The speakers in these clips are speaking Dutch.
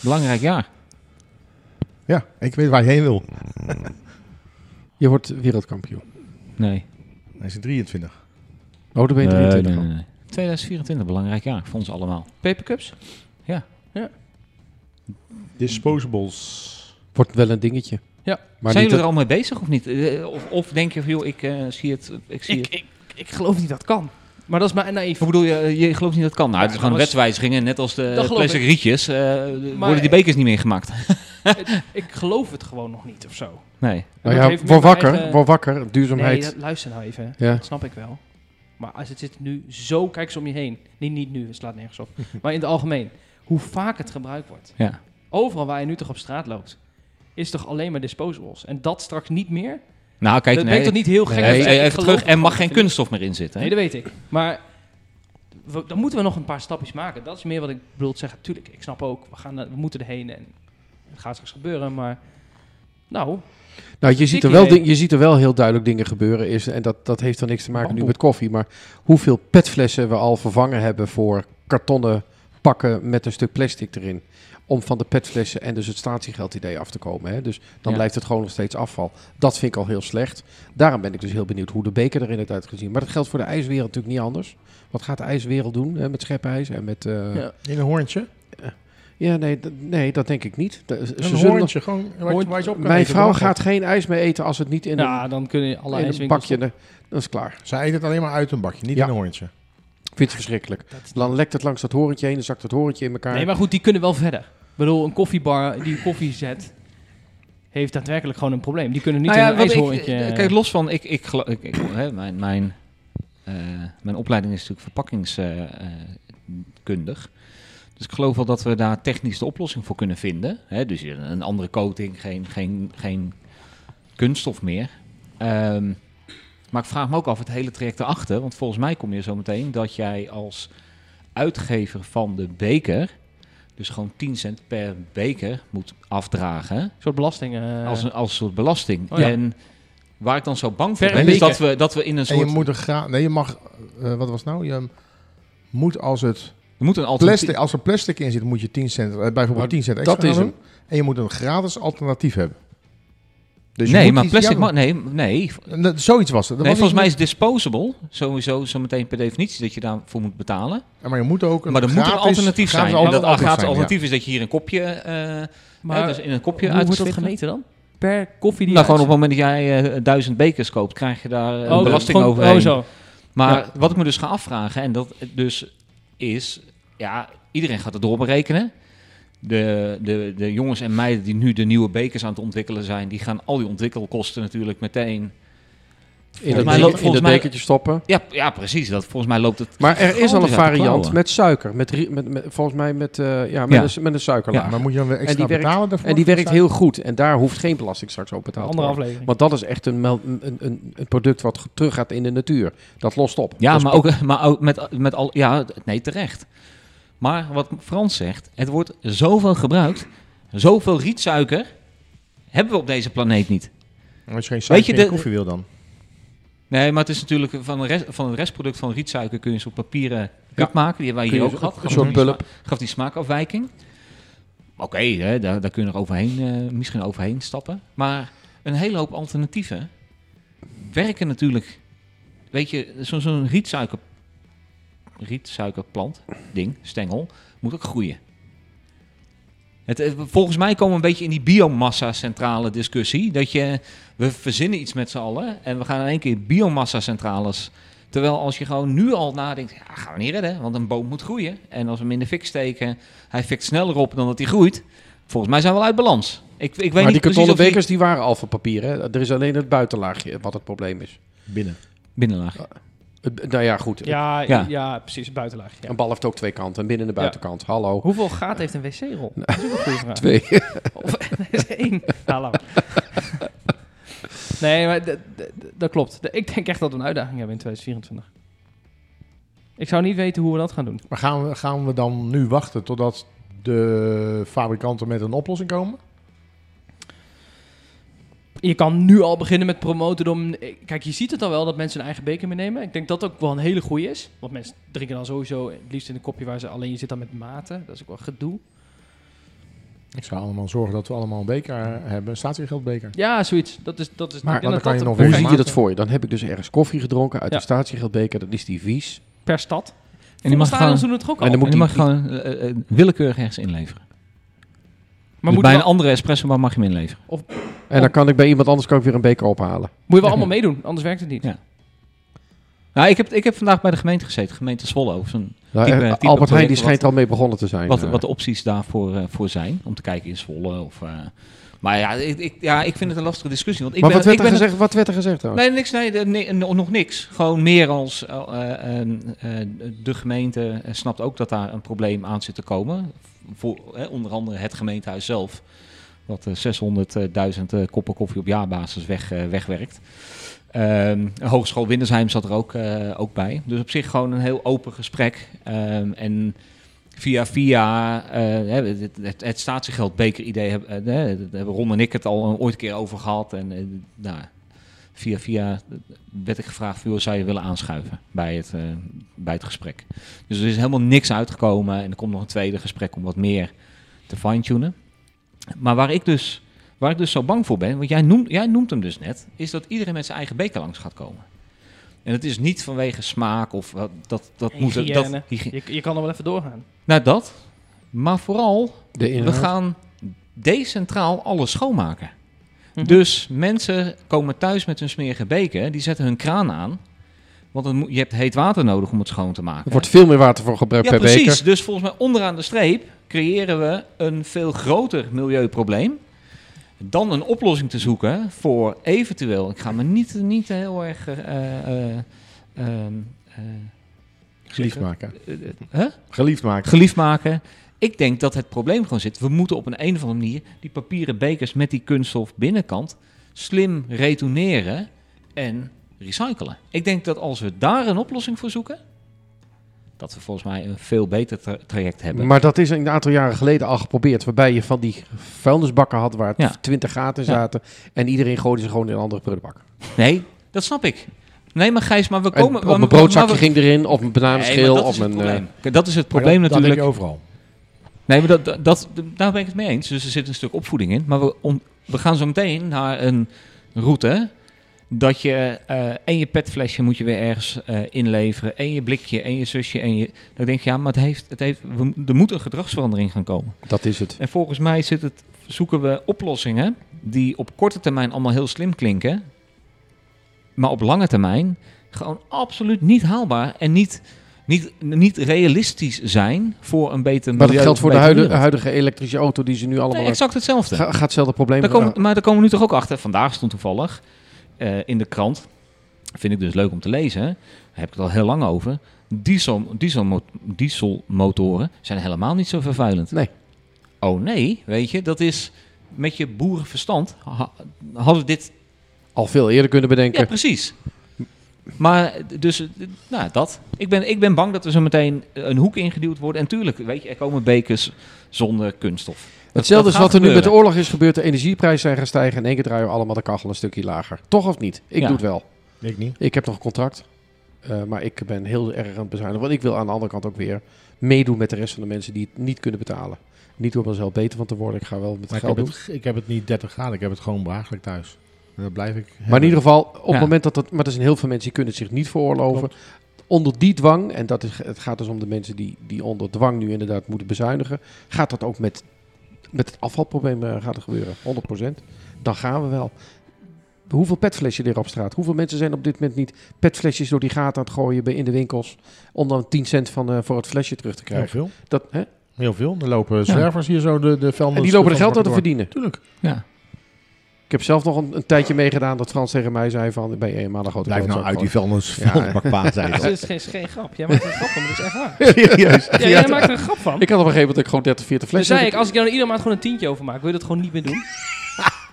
Belangrijk jaar. Ja, ik weet waar je heen wil. Je wordt wereldkampioen. Nee. Hij is 23. Oh, dan ben je 23 al. 2024, belangrijk jaar voor ons allemaal. Papercups? Disposables. Wordt wel een dingetje. Ja. Maar Zijn niet jullie dat- er al mee bezig of niet? Eh, Of, of denk je, van, joh, ik eh, zie het. Ik zie Ik, het. ik, ik geloof niet dat kan. Maar dat is maar naïef. Hoe bedoel je, eh, je gelooft niet dat het kan? Nou, het is Ja, gewoon een dat was- wetswijziging en net als de Dat geloof plastic ik. rietjes eh, worden die eh, bekers niet meer gemaakt. Ik geloof het gewoon nog niet of zo. Nee. Nou dat ja, heeft met voor mijn wakker, eh, eigen- voor wakker, duurzaamheid. Nee, dat, luister nou even. Ja. Dat snap ik wel. Maar als het zit nu zo, kijk eens om je heen. Nee, niet nu, het slaat nergens op. maar in het algemeen, hoe vaak het gebruikt wordt. Ja. Overal waar je nu toch op straat loopt, is toch alleen maar disposables. En dat straks niet meer? Nou, kijk, dat nee. ben ik toch niet heel gek? Nee, als ik zeg, eh, ik even geloof terug. het En mag gewoon geen niet. kunststof meer in zitten. hè? Nee, dat weet ik. Maar we- dan moeten we nog een paar stapjes maken. Dat is meer wat ik bedoel te zeggen. Tuurlijk, ik snap ook, we, gaan, er- we moeten erheen en het gaat straks gebeuren. Maar nou, nou, je ziet, er dik wel idee. ding, je ziet er wel heel duidelijk dingen gebeuren. Is, en dat, dat heeft dan niks te maken nu Oh. Bamboe. met koffie. Maar hoeveel petflessen we al vervangen hebben voor kartonnen pakken met een stuk plastic erin. Om van de petflessen en dus het statiegeldidee af te komen. Hè? Dus Ja. dan blijft het gewoon nog steeds afval. Dat vind ik al heel slecht. Daarom ben ik dus heel benieuwd hoe de beker erin heeft uitgezien. Maar dat geldt voor de ijswereld natuurlijk niet anders. Wat gaat de ijswereld doen hè, met schepijs en met... eh, Ja. In een hoorntje. Ja, nee, d- nee, dat denk ik niet. De- ze Een zullen hoorntje, gewoon waar, Hoort- je- waar je op kan Mijn eten, Nou, vrouw belachelijk. gaat geen ijs meer eten als het niet in ja, dan kunnen een, alle in een ijswinkels bakje... Dan is het klaar. Zij eet het alleen maar uit een bakje, niet Ja. in een hoorntje. Ik vind het verschrikkelijk. Dan lekt het langs dat horentje heen, dan zakt dat horentje in elkaar. Nee, maar goed, die kunnen wel verder. Ik bedoel, een koffiebar die koffie zet, heeft daadwerkelijk gewoon een probleem. Die kunnen niet Nou ja, in een wat ik- ijshoorntje... eh, Kijk, los van, ik, ik, gelo- ik, ik- hè, mijn, mijn, eh, mijn opleiding is natuurlijk verpakkingskundig. dus ik geloof wel dat we daar technisch de oplossing voor kunnen vinden. Hè? Dus hier een andere coating, geen, geen, geen kunststof meer. Ehm, maar ik vraag me ook af het hele traject erachter. Want volgens mij kom je zo meteen dat jij als uitgever van de beker... dus gewoon 10 cent per beker moet afdragen Een soort belasting... eh, als een, als een soort belasting. Oh ja. En waar ik dan zo bang voor Per ben, is dat beker. we, dat we in een En soort... je moet een gra- Nee, je mag... eh, wat was het nou? Je moet als het er moet een alternatief... plastic, als er plastic in zit, moet je 10 cent, eh, bijvoorbeeld 10 cent extra dat is gaan hem. doen. En je moet een gratis alternatief hebben. Dus je nee, moet maar iets- plastic... ja, mag- nee, nee, dat- Zoiets was het. Dat nee, was volgens mij iets- is disposable sowieso zo meteen per definitie dat je daarvoor moet betalen. Maar je moet ook een maar er moet gratis, een alternatief zijn. gratis En dat alternatief gratis zijn, ja. alternatief is dat je hier een kopje... eh, maar hè, dus in een kopje hoe wordt dat uitgeslikt wordt. gemeten dan? Per koffie die Nou, gewoon op het je moment dat jij eh, duizend bekers koopt, krijg je daar eh, een uitzendt? Oh, belasting gewoon- overheen. Oh, zo. Maar wat ik me dus ga afvragen, en dat dus is, ja, iedereen gaat het doorberekenen. De, de, de jongens en meiden die nu de nieuwe bekers aan het ontwikkelen zijn, die gaan al die ontwikkelkosten natuurlijk meteen. in dat, mij ding- loopt in volgens dat mij- bekertje stoppen. Ja, ja precies. Dat, volgens mij loopt het. Maar er is al een Gigantisch uit de variant klauwen. met suiker. Met, rie- met, met- volgens mij met, eh, ja, met, Ja. Een, su- met een suikerlaag. Maar moet je dan weer extra werkt- betalen daarvoor? En die werkt Zou- heel goed. En daar hoeft geen belasting straks op betaald te Andere worden. aflevering. Want dat is echt een, mel- een, een, een product wat ge- teruggaat in de natuur. Dat lost op. Ja, Dat is maar ook, eh, maar ook met, met al. Ja, nee, terecht. Maar wat Frans zegt, het wordt zoveel gebruikt, zoveel rietsuiker hebben we op deze planeet niet. Als je geen Weet Weet je je de... de- koffie wil dan. Nee, maar het is natuurlijk van, de rest, van het restproduct van rietsuiker kun je een soort papieren cup maken. Die hebben wij Kun hier je ook een- gehad. een Gaf soort die sma- pulp. Gaf die smaakafwijking. Oké, hè, daar, daar kun je nog overheen, eh, misschien overheen stappen. Maar een hele hoop alternatieven werken natuurlijk. Weet je, zo'n zo'n rietsuiker, rietsuikerplant, ding, stengel, moet ook groeien. Het, eh, volgens mij komen we een beetje in die biomassa-centrale discussie. Dat je, we verzinnen iets met z'n allen en we gaan in één keer biomassa-centrales. Terwijl als je gewoon nu al nadenkt, ja, gaan we niet redden, want een boom moet groeien. En als we hem in de fik steken, hij fikt sneller op dan dat hij groeit. Volgens mij zijn we wel uit balans. Ik, ik weet maar niet die precies kartonnen of die- bekers die waren al van papier. Hè? Er is alleen het buitenlaagje wat het probleem is. Binnen. Binnenlaag. Het- Nou ja, goed. Ja, Ja. ja. precies, buitenlaag. ja. Een bal heeft ook twee kanten. Een binnen- en een buitenkant. Hallo. Hoeveel gaat heeft een wc-rol? Dat is ook een goede vraag. Twee. Of nee, is één. Nou, laat maar. Nee, maar d- d- d- dat klopt. De- Ik denk echt dat we een uitdaging hebben in 2024. Ik zou niet weten hoe we dat gaan doen. Maar gaan we, gaan we dan nu wachten totdat de fabrikanten met een oplossing komen? Je kan nu al beginnen met promoten. Om, kijk, je ziet het al wel dat mensen hun eigen beker meenemen. Ik denk dat ook wel een hele goeie is. Want mensen drinken dan sowieso het liefst in een kopje waar ze alleen je zit dan met maten. Dat is ook wel gedoe. Ik zou allemaal zorgen dat we allemaal een beker hebben, een statiegeldbeker. Ja, zoiets. Dat is, dat is Maar ik denk dan kan je dat nog weer- Hoe dat per zie je maat- dat voor je? Dan heb ik dus ergens koffie gedronken uit Ja. de statiegeldbeker. Dan is die vies. per stad. En die mag Stadions gewoon, doen het toch ook al. en dan moet moet die- mag gewoon eh, eh, willekeurig ergens inleveren. maar Dus moeten bij we, een andere espresso bar mag je hem inleveren. En dan kan ik bij iemand anders kan ik weer een beker ophalen. moeten we allemaal meedoen, anders werkt het niet. Ja. Nou, ik heb, ik heb vandaag bij de gemeente gezeten, gemeente Zwolle, over zo'n Nou, Type- eh, type Albert Heijn project die schijnt al mee begonnen te zijn. wat, eh. wat de opties daarvoor eh, voor zijn. Om te kijken in Zwolle. Of, eh, maar ja ik, ik, ja, ik vind het een lastige discussie. Want ik maar ben, wat werd, ik er ben gezegd, wat werd er gezegd dan? Nee, niks, nee, de- nee, no- nog niks. Gewoon meer als eh, eh, eh, eh, de gemeente eh, snapt ook dat daar een probleem aan zit te komen. Voor, eh, onder andere het gemeentehuis zelf. Wat eh, 600.000 eh, koppen koffie op jaarbasis weg, eh, wegwerkt. Ehm, Hogeschool Windersheim zat er ook, eh, ook bij. Dus op zich gewoon een heel open gesprek. Ehm, en via via eh, hè, het, het, het statiegeldbeker-idee heb- eh, hè, daar hebben Ron en ik het al eh, ooit een keer over gehad. En eh, nou, via via werd ik gevraagd, joh, zou je willen aanschuiven bij het, eh, bij het gesprek? Dus er is helemaal niks uitgekomen en er komt nog een tweede gesprek om wat meer te fine-tunen. Maar waar ik dus, waar ik dus zo bang voor ben, want jij noemt, jij noemt hem dus net, is dat iedereen met zijn eigen beker langs gaat komen. En het is niet vanwege smaak of wat- dat, dat moet... er- Dat, Hygiëne. Je, je kan er wel even doorgaan. naar dat, maar vooral De we inhoud. gaan decentraal alles schoonmaken. Mhm. Dus mensen komen thuis met hun smerige beker, die zetten hun kraan aan. Want het moet- je hebt heet water nodig om het schoon te maken. Er wordt veel meer water voor gebruikt ja, per precies. beker. Dus volgens mij onderaan de streep creëren we een veel groter milieuprobleem. Dan een oplossing te zoeken voor eventueel. Ik ga me niet, niet heel erg. eh, eh, eh, ehm, eh, Geliefd maken. eh, eh, hè? Geliefd maken. geliefd maken. Ik denk dat het probleem gewoon zit. We moeten op een, een of andere manier die papieren bekers met die kunststof binnenkant slim retourneren en recyclen. Ik denk dat als we daar een oplossing voor zoeken, dat we volgens mij een veel beter tra- traject hebben. Maar dat is een aantal jaren geleden al geprobeerd. Waarbij je van die vuilnisbakken had waar Ja. 20 gaten Ja. zaten. En iedereen gooide ze gewoon in een andere prullenbak. Nee, dat snap ik. Nee, maar Gijs, maar we En komen... op een broodzakje ging erin, of een bananenschil, of een... eh, probleem. dat is het probleem Maar dat- natuurlijk. Dat denk je overal. Nee, maar dat, dat, dat- daar ben ik het mee eens. Dus er zit een stuk opvoeding in. Maar we, on- we gaan zo meteen naar een route. Dat je eh, en je petflesje moet je weer ergens eh, inleveren. En je blikje, en je zusje, en je... Dan denk je, ja, maar het heeft, het heeft, we- er moet een gedragsverandering gaan komen. dat is het. En volgens mij zit het, zoeken we oplossingen die op korte termijn allemaal heel slim klinken. Maar op lange termijn gewoon absoluut niet haalbaar. En niet, niet, niet realistisch zijn voor een beter Maar dat milieu, geldt voor de betere huidige, wereld. huidige elektrische auto die ze nu allemaal... Nee, exact hetzelfde. Ga- gaat hetzelfde probleem... Daar komen, maar daar komen we nu toch ook achter. Vandaag stond toevallig eh, in de krant, vind ik dus leuk om te lezen, daar heb ik het al heel lang over, diesel, dieselmo- dieselmotoren zijn helemaal niet zo vervuilend. Nee. Oh nee, weet je, dat is met je boerenverstand, ha- hadden we dit... al veel eerder kunnen bedenken. Ja, precies. Maar dus, eh, nou dat. Ik ben, ik ben bang dat we zo meteen een hoek ingeduwd worden. En tuurlijk, weet je, er komen bekers zonder kunststof. Dat- Hetzelfde dat is gaat wat er nu met de gebeuren. oorlog is gebeurd. De energieprijzen zijn gaan stijgen. In één keer draaien we allemaal de kachel een stukje lager. Toch of niet? Ik Ja. doe het wel. Ik niet. Ik heb nog een contract. eh, maar ik ben heel erg aan het bezuinigen. Want ik wil aan de andere kant ook weer meedoen met de rest van de mensen die het niet kunnen betalen. Niet om er zelf beter van te worden. Ik ga wel met Maar ik geld heb, doen. het, ik heb het niet 30 graden, ik heb het gewoon behagelijk thuis. En dat blijf ik. hebben. Maar in ieder geval, op Ja. het moment dat dat... Maar er zijn heel veel mensen die kunnen het zich niet veroorloven. Onder die dwang, en dat is, het gaat dus om de mensen die, die onder dwang nu inderdaad moeten bezuinigen. Gaat dat ook met, met het afvalprobleem eh, gaat er gebeuren? 100%. Dan gaan we wel. Hoeveel petflesjes liggen op straat? Hoeveel mensen zijn op dit moment niet petflesjes door die gaten aan het gooien bij- in de winkels? Om dan 10 cent van, eh, voor het flesje terug te heel krijgen. veel. Dat, hè? Heel veel. Er lopen zwervers hier zo de, de vuilnis. En die lopen er geld aan te vuilnisbakken verdienen. door. Tuurlijk. Ja. Ik heb zelf nog een, een tijdje meegedaan dat Frans tegen mij zei van... ben je eenmalig grote Blijf nou klootzak uit die van. vuilnis, Ja. vuilnisbak paard, zei Het hij. is, geen- is geen grap. Jij maakt er een grap van, maar dat is echt waar. Serieus. Ja, jij maakt er een grap van. Ik had op een gegeven moment dat ik gewoon 30, 40 Dan flessen... Dus zei ik, als ik jou iedere maand gewoon een tientje overmaak, wil je dat gewoon niet meer doen?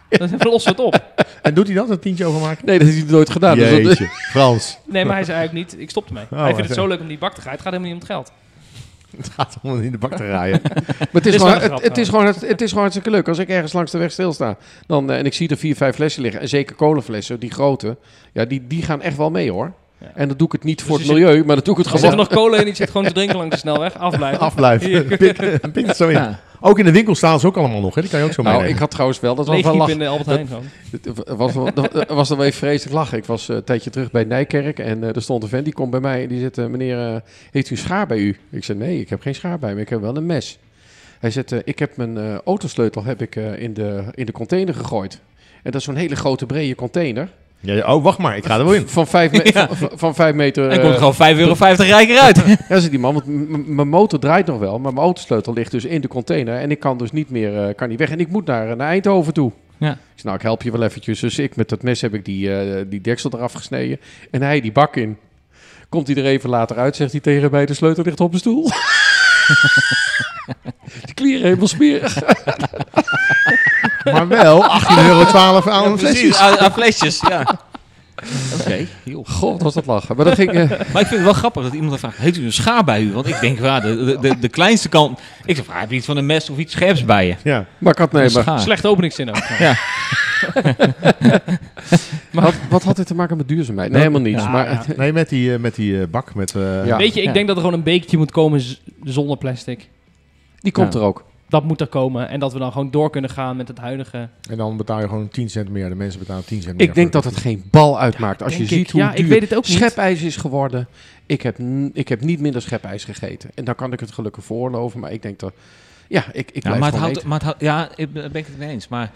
Dan lossen we het op. En doet hij dat, een tientje overmaken? Nou, Nee, dat is hij nooit gedaan. Dus dat, Jeetje, Frans. Nee, maar hij zei eigenlijk niet, ik stop Oh, ermee. hij vindt het zo leuk om die bak te gaan. Het gaat helemaal niet om het geld. Het gaat om in de bak te rijden. Maar het is, Dit is wel gewoon, een het, grap, het is gewoon, het, het is gewoon hartstikke leuk. Als ik ergens langs de weg stilsta dan, eh, en ik zie er vier, vijf flessen liggen. En zeker kolenflessen, die grote. Ja, die, die gaan echt wel mee hoor. Ja. En dat doe ik het niet voor Dus je het milieu, maar dat doe ik het Er zit er gewoon. nog kolen in, die zit gewoon te drinken langs de snelweg. Afblijven. Afblijven. Pik, pik het zo in. Ja. Ook in de winkel staan ze ook allemaal nog, hè? Die kan je ook zo Nou, meenemen. ik had trouwens wel, dat was wel Leegdiep in lachen. de Albert Heijn gewoon. Het was, wel- dat was dan wel even vreselijk lachen. Ik was eh, een tijdje terug bij Nijkerk en eh, er stond een vent die komt bij mij en die zegt, eh, meneer, eh, heeft u een schaar bij u? Ik zei, nee, ik heb geen schaar bij me, ik heb wel een mes. Hij zegt, eh, ik heb mijn eh, autosleutel heb ik, eh, in, de, in de container gegooid. En dat is zo'n hele grote brede container. Ja, ja, oh, wacht maar. Ik ga er wel in. Van vijf, me- van- van, van vijf meter. En eh, komt gewoon 5,50 euro rijker uit. ja, zit die man. Want m- m- mijn motor draait nog wel, maar mijn autosleutel ligt dus in de container. En ik kan dus niet meer eh, kan niet weg. En ik moet naar, eh, naar Eindhoven toe. Ja. Ik zei, nou, ik help je wel eventjes. Dus ik met dat mes heb ik die, eh, die deksel eraf gesneden. En hij die bak in. Komt hij er even later uit, zegt hij tegen mij, de sleutel ligt op mijn stoel. die klieren helemaal smerig. Maar wel 18,12 euro aan een flesje. Precies, aan, aan flesjes, ja. Oké, joh. God, was dat lachen. Maar dat ging... eh, Maar ik vind het wel grappig dat iemand dan vraagt, heeft u een schaar bij u? Want ik denk, ja, de, de, de, de kleinste kant... Ik zeg, ah, heb je iets van een mes of iets scherps bij je? Ja. maar ik had... Nee, Een maar, schaar. Slechte openingszin ook. gewoon. wat, wat had dit te maken met duurzaamheid? Nee, helemaal niets. Ja, maar ja. Nee, met die, eh, met die eh, bak. Met, eh, Ja. Weet je, ik Ja. denk dat er gewoon een beekje moet komen z- zonder plastic. die komt Ja. er ook. Dat moet er komen. En dat we dan gewoon door kunnen gaan met het huidige. En dan betaal je gewoon 10 cent meer. De mensen betalen 10 cent meer. Ik denk dat het geen bal uitmaakt. Als je denk ziet ik. hoe Ja, ik duur weet het ook niet. schepijs is geworden. Ik heb, n- ik heb niet minder schepijs gegeten. En dan kan ik het gelukkig voorloven. Maar ik denk dat... Ja, ik, ik Ja, blijf maar het gewoon houdt, eten. maar het houdt- ja, ik ben daar ben ik het mee eens. Maar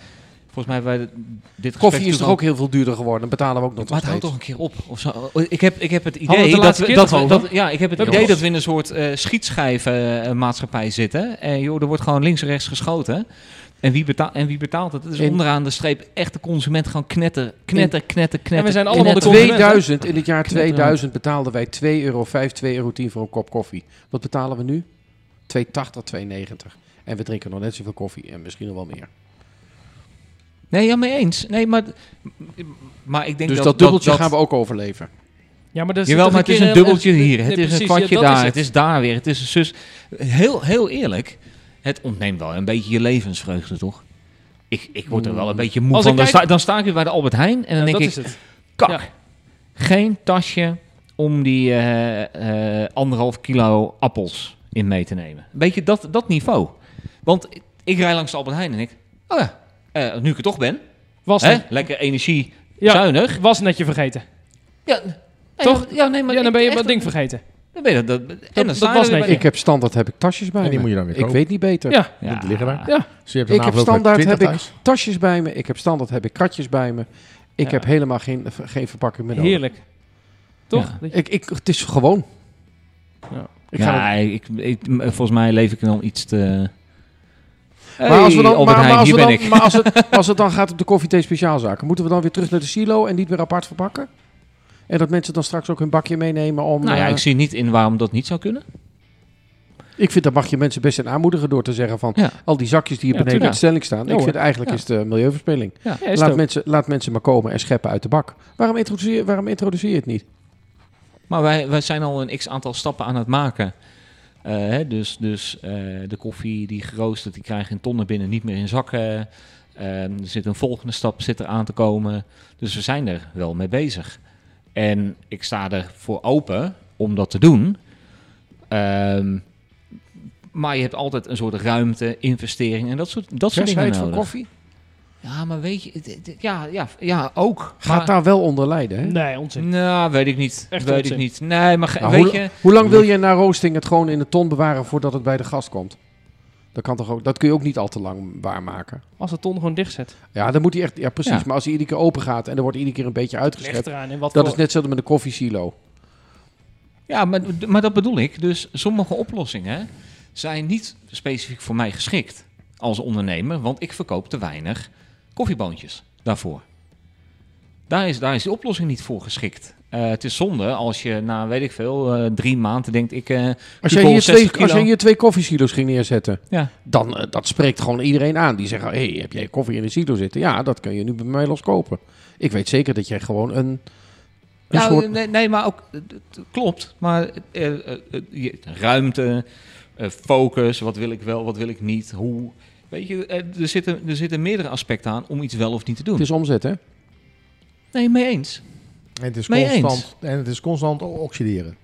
volgens mij hebben wij dit gesprek Koffie is natuurlijk toch al- ook heel veel duurder geworden. Dan betalen we ook nog Maar het steeds. houdt toch een keer op. Of zo. Ik, heb, ik heb het we het idee de dat laatste we, keer dat, nog we- over? dat- ja, ik heb het We idee hebben dat we in een soort eh schietschijvenmaatschappij zitten. En joh, er wordt gewoon links en rechts geschoten. En wie, betaalt, en wie betaalt het? Het is In- onderaan de streep echt de consument gaan knetter, knetter, knetter, knetter. En we zijn knetter. allemaal de in, consument, hè? 2000, in het jaar 2000 betaalden wij 2,05 euro, 2,10 euro voor een kop koffie. Wat betalen we nu? 2,80, 2,90. En we drinken nog net zoveel koffie. En misschien nog wel meer. Dus Nee, ja, mee eens. Nee, maar, maar ik denk Dus dat... dat dubbeltje gaan we ook overleven. Ja, maar dat is Jawel, toch maar het is keer een dubbeltje heel- hier. Nee, Het is een precies, kwartje ja, dat daar. het. is daar weer. Het is een zus. Heel, heel eerlijk. Het ontneemt wel een beetje je levensvreugde, toch? Ik, ik word er wel een beetje moe Hmm. Als van. ik Dan, kijk- sta, dan sta ik weer bij de Albert Heijn en Ja, dan denk dat ik... is het. Kak. Ja. Geen tasje om die eh, eh, anderhalf kilo appels in mee te nemen. Weet je, dat, dat niveau. Want ik, ik rij langs de Albert Heijn en ik... Oh ja, eh, nu ik er toch ben. Was, Hè, net, lekker energie, Ja. zuinig. was net je vergeten. Ja, Toch? Ja, nee, maar ja, dan ben je echt- dat ding vergeten. Dan ben je dat... dat- en dan dat sta je was er weer net bij- Ik heb standaard heb ik tasjes bij En die me. moet je dan weer Ik kopen. weet niet beter. Ja, Ja. liggen wij. ja. Dus je hebt Ik daarna heb ook weer standaard 20 heb ik thuis. tasjes bij me. Ik heb standaard heb ik kratjes bij me. Ik Ja. heb helemaal geen, geen verpakking meer nodig. heerlijk. Toch? Ja. Dat je- Ik, ik, het is gewoon. Ja. Ik ga ja, ik, ik- m- volgens mij leef ik dan iets te... het- maar als we Hey, dan, Albert maar, Heijn, maar als hier we ben dan, ik. maar als het, als het dan gaat op de koffiethee speciaalzaken, moeten we dan weer terug naar de silo en niet weer apart verpakken? En dat mensen dan straks ook hun bakje meenemen om. Nou ja, eh, ik ik, zie niet in waarom dat niet zou kunnen. vind dat mag je mensen best in aanmoedigen door te zeggen van Ja. al die zakjes die hier Ja, beneden in de stelling staan. ik hoor. vind eigenlijk Ja. is het eh, milieuverspilling. Ja, is het Laat ook. mensen, laat mensen maar komen en scheppen uit de bak. Waarom introduceer, waarom introduceer je het niet? Maar wij, wij zijn al een x-aantal stappen aan het maken. Eh, hè, dus dus eh, de koffie die geroosterd, die krijg je in tonnen binnen, niet meer in zakken. Eh, er zit een volgende stap zit er aan te komen. Dus we zijn er wel mee bezig. En ik sta er voor open om dat te doen. Ehm, maar je hebt altijd een soort ruimte, investering en dat soort, dat soort dingen Versheid van nodig. koffie? Ja, maar weet je, het- het- ja, ja, ja ook. Gaat maar, daar wel onder lijden, hè? Nee, onzin. Nou, weet ik niet. Echt weet onzin. ik niet. Nee, maar ge- Nou, weet hoe, je... hoe lang wil je na roasting het gewoon in de ton bewaren voordat het bij de gast komt? Dat, kan toch ook, dat kun je ook niet al te lang waarmaken. Als de ton gewoon dicht zet. Ja, dan moet hij echt, ja precies. Ja. Maar als hij iedere keer open gaat en er wordt iedere keer een beetje Leg uitgeschept. eraan. En Dat wat voor- is net hetzelfde met een koffiesilo. Ja, maar, maar dat bedoel ik. Dus sommige oplossingen zijn niet specifiek voor mij geschikt als ondernemer, want ik verkoop te weinig koffieboontjes. daarvoor. Daar is, daar is de oplossing niet voor geschikt. Eh, het is zonde als je na, weet ik veel, eh, drie maanden denkt ik... eh, Als ik jij, wil hier 60 twee, als kilo. jij hier twee koffiesilo's ging neerzetten, Ja. dan eh, dat spreekt gewoon iedereen aan. Die zeggen, hé, hey, heb jij koffie in een silo zitten? Ja, dat kun je nu bij mij loskopen. Ik weet zeker dat jij gewoon een, een nou, soort... nee, nee, maar ook, het het klopt. Maar eh, eh, eh, je- ruimte, eh, focus, wat wil ik wel, wat wil ik niet, hoe... Weet je, eh, er zitten, er zitten meerdere aspecten aan om iets wel of niet te Het doen. is omzet, hè? Nee, mee eens. En het is Mee eens. constant, en het is constant o- oxideren.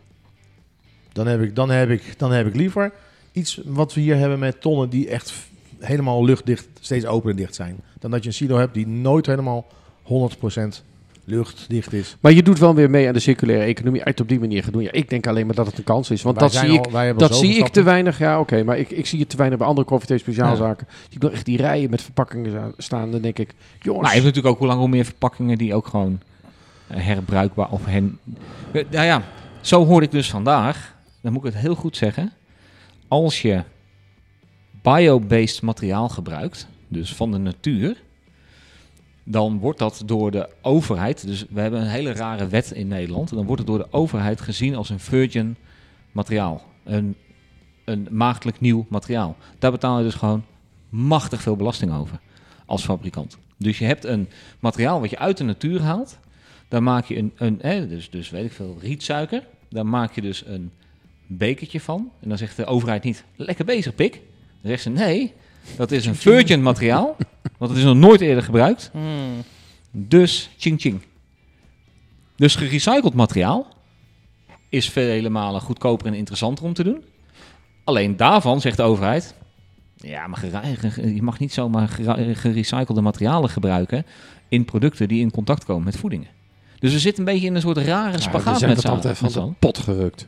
Dan heb, ik, dan, heb ik, dan heb ik liever iets wat we hier hebben met tonnen die echt f- helemaal luchtdicht, steeds open en dicht zijn. Dan dat je een silo hebt die nooit helemaal 100% luchtdicht is. Maar je doet wel weer mee aan de circulaire economie. Uit op die manier gaan doen. Ja, ik denk alleen maar dat het een kans is. Want Wij dat zijn zie ik al- wij hebben al Dat zoveel zie ik te stappen. weinig, ja oké, maar ik, ik zie het te weinig bij andere koffiethee speciaalzaken. Ik wil echt die rijen met verpakkingen aan- staan, dan denk ik, Maar jongens, Nou, je hebt natuurlijk ook hoe langer hoe meer verpakkingen die ook gewoon eh, herbruikbaar of hen... Eh, Nou ja, zo hoor ik dus vandaag, dan moet ik het heel goed zeggen. Als je bio-based materiaal gebruikt, dus van de natuur, dan wordt dat door de overheid, dus we hebben een hele rare wet in Nederland, dan wordt het door de overheid gezien als een virgin materiaal. Een, een maagdelijk nieuw materiaal. Daar betaal je dus gewoon machtig veel belasting over als fabrikant. Dus je hebt een materiaal wat je uit de natuur haalt. Daar maak je een, een hè, dus, dus weet ik veel, rietsuiker. Daar maak je dus een bekertje van. En dan zegt de overheid niet, lekker bezig pik. Dan zegt ze, nee, dat is een virgin materiaal. Want het is nog nooit eerder gebruikt. Hm. Dus ching ching. Dus gerecycled materiaal is vele malen goedkoper en interessanter om te doen. Alleen daarvan zegt de overheid, ja, maar gera- ge- ge- je mag niet zomaar gera- gerecyclede materialen gebruiken in producten die in contact komen met voedingen. Dus we zitten een beetje in een soort rare nou, we spagaat zijn met wat z'n dat betreft met z'n van allen. de pot gerukt.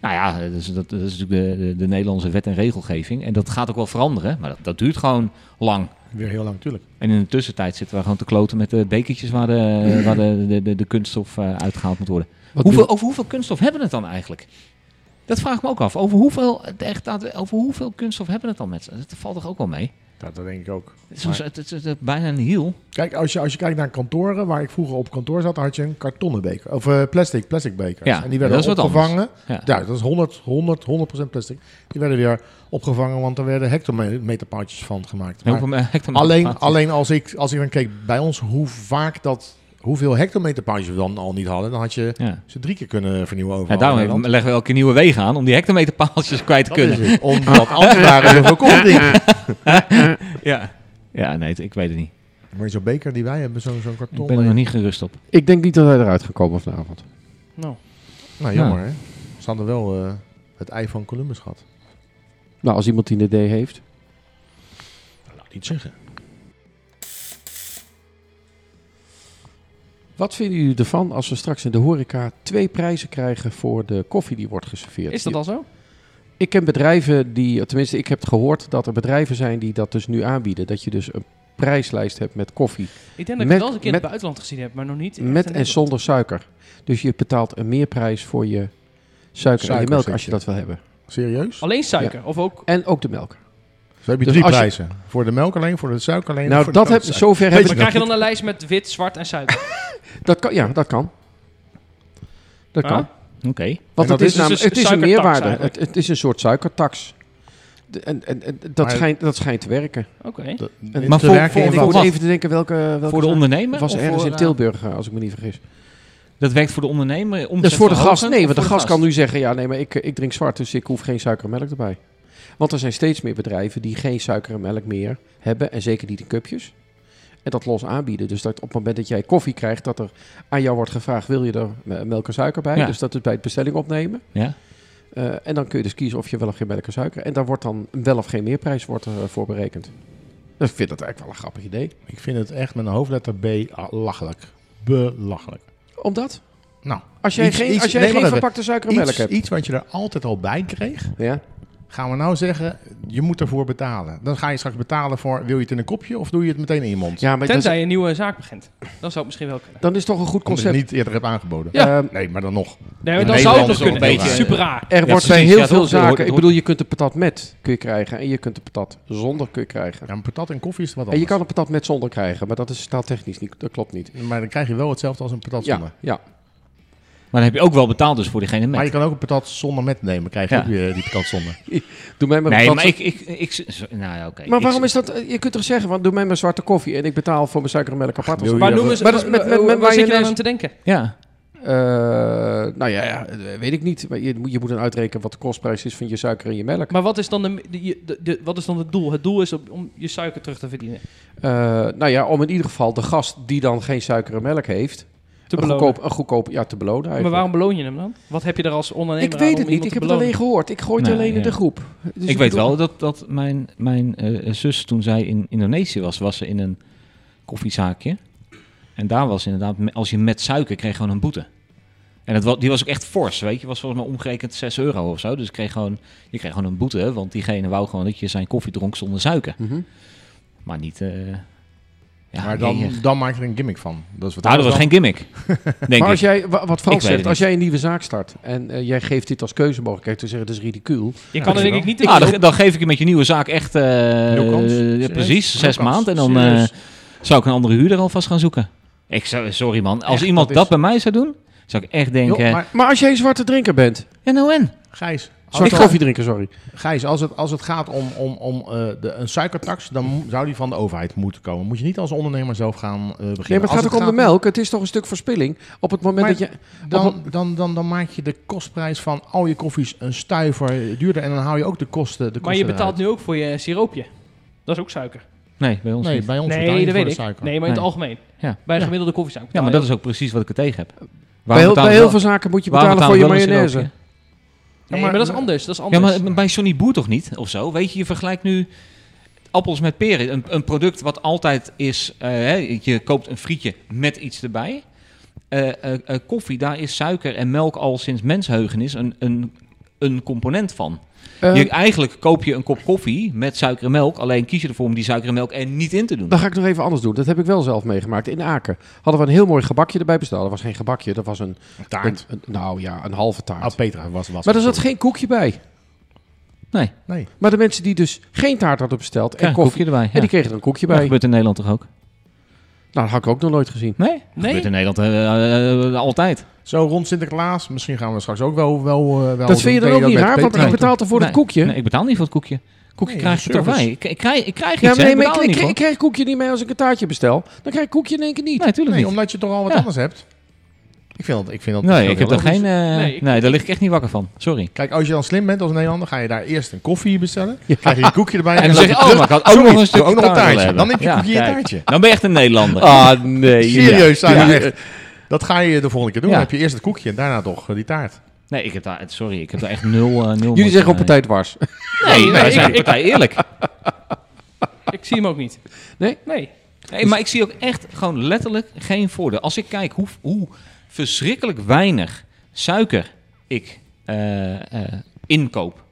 Nou ja, dat is, dat, dat is natuurlijk de, de, de Nederlandse wet en regelgeving. En dat gaat ook wel veranderen, maar dat, dat duurt gewoon lang. Weer heel lang natuurlijk. En in de tussentijd zitten we gewoon te kloten met de bekertjes waar de, waar de, de, de, de kunststof eh, uitgehaald moet worden. Wat Hoeveel, over hoeveel kunststof hebben we het dan eigenlijk? Dat vraag ik me ook af. Over hoeveel, echt, daadwer- over hoeveel kunststof hebben we het dan met z'n- Dat valt toch ook wel mee? Dat, dat denk ik ook. Het is, zo- het, het- het- het- bijna een hiel. Kijk, als je, als je kijkt naar kantoren, waar ik vroeger op kantoor zat, had je een kartonnen beker. Of eh, plastic, plastic bekers. Ja, en die werden dat is wat opgevangen. Ja. Ja, dat is 100, 100, 100% plastic. Die werden weer opgevangen, want er werden hectometerpaaltjes van gemaakt. Maar Hoeveel hectare alleen, maat- alleen als, ik, als ik dan keek bij ons hoe vaak dat, hoeveel hectometerpaaltjes we dan al niet hadden, dan had je Ja. ze drie keer kunnen vernieuwen over Ja, daarom hebben we- leggen we elke keer nieuwe wegen aan om die hectometerpaaltjes kwijt te kunnen. Omdat anders waren er voorkomt niet. Ja. ja, nee, het- ik weet het niet. Maar zo'n beker die wij hebben, zo'n zo'n karton. eh, Ik ben er nog niet gerust op. Ik denk niet dat wij eruit gaan komen vanavond. Nou, Nou, jammer hè. Ze hadden wel eh, het ei van Columbus gehad. Nou, als iemand die een idee heeft. Nou, niet zeggen. Wat vinden jullie ervan als we straks in de horeca twee prijzen krijgen voor de koffie die wordt geserveerd? is dat al zo? Ik ken bedrijven die, tenminste ik heb gehoord dat er bedrijven zijn die dat dus nu aanbieden. Dat je dus een prijslijst hebt met koffie. Ik denk dat ik Met- het wel eens een keer in met- het buitenland gezien heb, maar nog niet. echt in Met en Nederland. zonder suiker. Dus je betaalt een meerprijs voor je suiker, en je Suiker, melk zeg als je je. dat wil hebben. Serieus? Alleen suiker, of ook... En ook de melk. Zo heb je Dus drie als je- prijzen. Voor de melk alleen, voor de suiker alleen. en nou, voor de dat heb, kooksuiker. zover heb Weet ik... Maar krijg je dan een lijst met wit, zwart en suiker? Dat kan, ja, dat kan. Dat Ah? kan. Oké. Want dat het is, is dus namelijk, een het is een suikertax meerwaarde. eigenlijk. Het, het is een soort suikertax. De- en, en, en dat, Maar- schijnt, dat schijnt te werken. Oké. Dat- En- Maar te voor- werken voor- in ik voor- wat? moet wacht. even denken welke... welke Voor de ondernemer? Het was of ergens voor, in eh, Tilburg, eh, als ik me niet vergis. Dat werkt voor de ondernemer. omzet Dus voor de verhogen gast, nee, of want de voor gast kan nu zeggen: ja, nee, maar ik, eh, ik drink zwart, dus ik hoef geen suiker en melk erbij. Want er zijn steeds meer bedrijven die geen suiker en melk meer hebben, en zeker niet in cupjes. En dat los aanbieden. Dus dat op het moment dat jij koffie krijgt, dat er aan jou wordt gevraagd: wil je er eh, melk en suiker bij? Ja. Dus dat is bij het bestelling opnemen. Ja. Eh, en dan kun je dus kiezen of je wel of geen melk en suiker. En daar wordt dan wel of geen meerprijs wordt, eh, voor berekend. Dus ik vind dat eigenlijk wel een grappig idee. Ik vind het echt met een hoofdletter B belachelijk. Belachelijk. Omdat? Nou, Als jij Iets- geen, iets- als jij nee, geen wacht even. verpakte suiker en melk iets, hebt. iets wat je er altijd al bij kreeg. Ja? Gaan we nou zeggen, je moet ervoor betalen. Dan ga je straks betalen voor, wil je het in een kopje of doe je het meteen in je mond? Ja, maar dat is- Tenzij je een nieuwe zaak begint. Dan zou het misschien wel kunnen. dan is toch een goed Omdat je het concept. niet eerder hebt aangeboden. Ja. Nee, maar dan nog. Nee, maar In dan zou Nederland het nog is het kunnen. wel een Het is beetje, super raar. Er Ja, wordt bij precies, heel ja, veel dat- dat hoort- zaken. Ik dat bedoel, je kunt een patat met kun je krijgen en je kunt een patat zonder kun je krijgen. Ja, een patat en koffie is wat en je anders. kan een patat met zonder krijgen, maar dat is taaltechnisch niet. Dat klopt niet. Maar dan krijg je wel hetzelfde als een patat zonder. Ja, ja. Maar dan heb je ook wel betaald dus voor diegene Maar met. je kan ook een patat zonder met nemen. Krijg je Ja. ook weer die patat zonder. Doe mij maar Nee, patat maar ik... ik, ik, z- nou ja, oké. Maar Ik- waarom is dat? eh, Je kunt toch zeggen, want doe mij maar zwarte koffie en ik betaal voor mijn suiker en melk apart. of zo. Maar noem eens, eh, Maar dat is met- met- met- waar, waar je zit je dan ineens- aan te denken? Ja. Eh, nou ja, ja, eh, weet ik niet. Maar je, moet- je moet dan uitrekenen wat de kostprijs is van je suiker en je melk. Maar wat is dan, de, de- de- de- wat is dan het doel? Het doel is om, om je suiker terug te verdienen. Eh, nou ja, om in ieder geval de gast die dan geen suiker en melk heeft, Te een, belonen. goedkoop, een goedkoop ja, te belonen. maar Eigenlijk. waarom beloon je hem dan? Wat heb je er als ondernemer Ik aan weet om het niet. iemand Ik te heb het alleen belonen? gehoor. Ik gooi het Nee, alleen in ja. de groep. Dus ik weet bedoel- wel dat, dat mijn, mijn eh, zus, toen zij in Indonesië was, was ze in een koffiezaakje. En daar was inderdaad, me- als je met suiker kreeg gewoon een boete. En dat, wa- die was ook echt fors, weet je. Was volgens mij omgerekend 6 euro of zo. Dus ik kreeg gewoon, je kreeg gewoon een boete, want diegene wou gewoon dat je zijn koffie dronk zonder suiker. Mhm. Maar niet... eh, ja, maar dan, nee, eh. dan maak je er een gimmick van. Dat is wat Nou, dat was geen anders gimmick. Denk maar als ik. jij, wa- wat Ik weet Frans het zegt, als niet. jij een nieuwe zaak start en eh, jij geeft dit als keuzemogelijkheid, te zeggen, dat is ridicuul. Je kan er denk ik niet in Ah, dan, dan geef ik je met je nieuwe zaak echt... eh, Nul kans. ja, Serieus? precies, Nul zes kans. maanden. En dan... eh, Serieus. Zou ik een andere huurder alvast gaan zoeken? Ik zou, sorry man, als Echt, iemand dat dat, is- bij mij zou doen, zou ik echt Joh, denken, en maar Maar als jij een zwarte drinker bent, nou en? Gijs, als zwarte het, koffiedrinker, sorry. Gijs, als het, als het gaat om, om, om eh, de, een suikertax, dan mo- zou die van de overheid moeten komen. Moet je niet als ondernemer zelf gaan eh, beginnen. Nee, maar Als het gaat ook om de melk. Het is toch een stuk verspilling. Op het moment Maar- dat je... Dan, dan, dan, dan maak je de kostprijs van al je koffies een stuiver duurder. En dan hou je ook de kosten. De Maar je kosten betaalt nu ook voor je siroopje. Dat is ook suiker. Nee, bij ons eruit. Nee, niet. bij ons betaal je Nee, dat voor weet de ik. Nee, suiker. maar in het Nee. algemeen. Ja. Bij een Ja. gemiddelde koffiezak. Ja, betaal maar je dat is ook precies wat ik er tegen heb. Waarom Bij heel, betalen bij we heel wel- veel zaken moet je waarom betalen voor je betalen we wel een mayonaise. siroopje? Nee, maar dat is anders. Dat is Ja, anders. maar bij Johnny Boer toch niet, of zo? Weet je, je vergelijkt nu appels met peren. Een, een product wat altijd is, eh, hè, je koopt een frietje met iets erbij. Eh, eh, eh, koffie, daar is suiker en melk al sinds mensheugenis een, een, een component van. Eh, Je, eigenlijk koop je een kop koffie met suiker en melk. Alleen kies je ervoor om die suiker en melk er niet in te doen. Dan ga ik nog even anders doen. Dat heb ik wel zelf meegemaakt. In Aken hadden we een heel mooi gebakje erbij besteld. Dat was geen gebakje, dat was een... Taart. een- een- nou ja, een halve taart. Oh, Petra was, was maar er het. zat geen koekje bij. Nee, Nee. Maar de mensen die dus geen taart hadden besteld en krijg een koffie... koffie erbij. Ja. En die kregen er een koekje dat bij. gebeurt in Nederland toch ook? Nou, dat had ik ook nog nooit gezien. Nee? Dat Nee? gebeurt in Nederland eh, eh, eh, altijd. Zo rond Sinterklaas. Misschien gaan we straks ook wel... wel, eh, wel dat vind je dan doen. ook niet met raar, want ik Petra. betaal ervoor het Nee. koekje. Nee, ik betaal niet voor het koekje. Koekje Nee, krijg je toch service. bij? Ik, ik krijg, ik krijg Ja, iets, maar hè? nee, maar ik ik, betaal ik, niet ik voor. krijg koekje niet mee als ik een taartje bestel. Dan krijg ik koekje in één keer niet. Nee, natuurlijk Nee, niet. omdat je toch al wat Ja. anders hebt. Ik vind dat... Ik, vind dat Nee, dat ik heb heel daar geen... logisch. eh, Nee, nee, ik- daar lig ik echt niet wakker van. Sorry. Kijk, als je dan slim bent als Nederlander, ga je daar eerst een koffie bestellen. Krijg je een koekje erbij. En dan zeg je, oh, maar ik had ook nog een stuk ook nog een taartje. hebben. Dan heb je Ja, een koekje en een kijk. taartje. Dan ben je echt een Nederlander. Ah, nee. Serieus, zou je echt. Dat ga je de volgende keer doen. Ja. Dan heb je eerst het koekje en daarna toch eh, die taart. Nee, ik heb daar... Sorry, ik heb daar echt nul... eh, nul Jullie zeggen op mee. partij dwars. Nee, Nee, wij ik- zijn ik- partij eerlijk. Ik zie hem ook niet. Nee? Nee. Nee, maar ik zie ook echt gewoon letterlijk geen voordeel. Als ik kijk hoe, hoe verschrikkelijk weinig suiker ik eh, eh, inkoop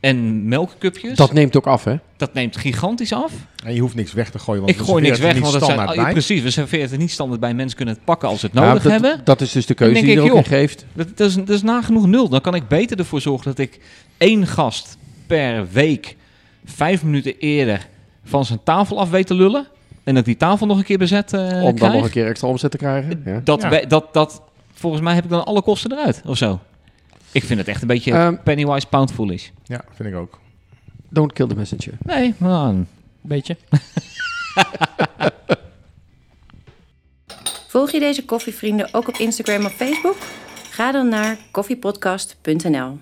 en melkcupjes, Dat dat, neemt ook af, hè? neemt gigantisch af. En je hoeft niks weg te gooien. Want ik gooi niks weg, want dat zijn, Oh, standaard bij. precies, we serveren het niet standaard bij. Mensen kunnen het pakken als ze het nodig Ja, Nou, dat, hebben. Dat is dus de Dan keuze die denk je er ik, eh, ook in geeft. Dat, dat, is, dat is nagenoeg nul. Dan kan ik beter ervoor zorgen dat ik één gast per week vijf minuten eerder van zijn tafel af weet te lullen. En dat ik die tafel nog een keer bezet eh Om dan krijg. nog een keer extra omzet te krijgen. Ja. Dat, Ja. we- dat, dat, volgens mij heb ik dan alle kosten eruit, of zo. Ik vind het echt een beetje Ehm. pennywise pound foolish. Ja, vind ik ook. Don't kill the messenger. Nee, man. Beetje. Volg je deze koffievrienden ook op Instagram of Facebook? Ga dan naar koffiepodcast.nl.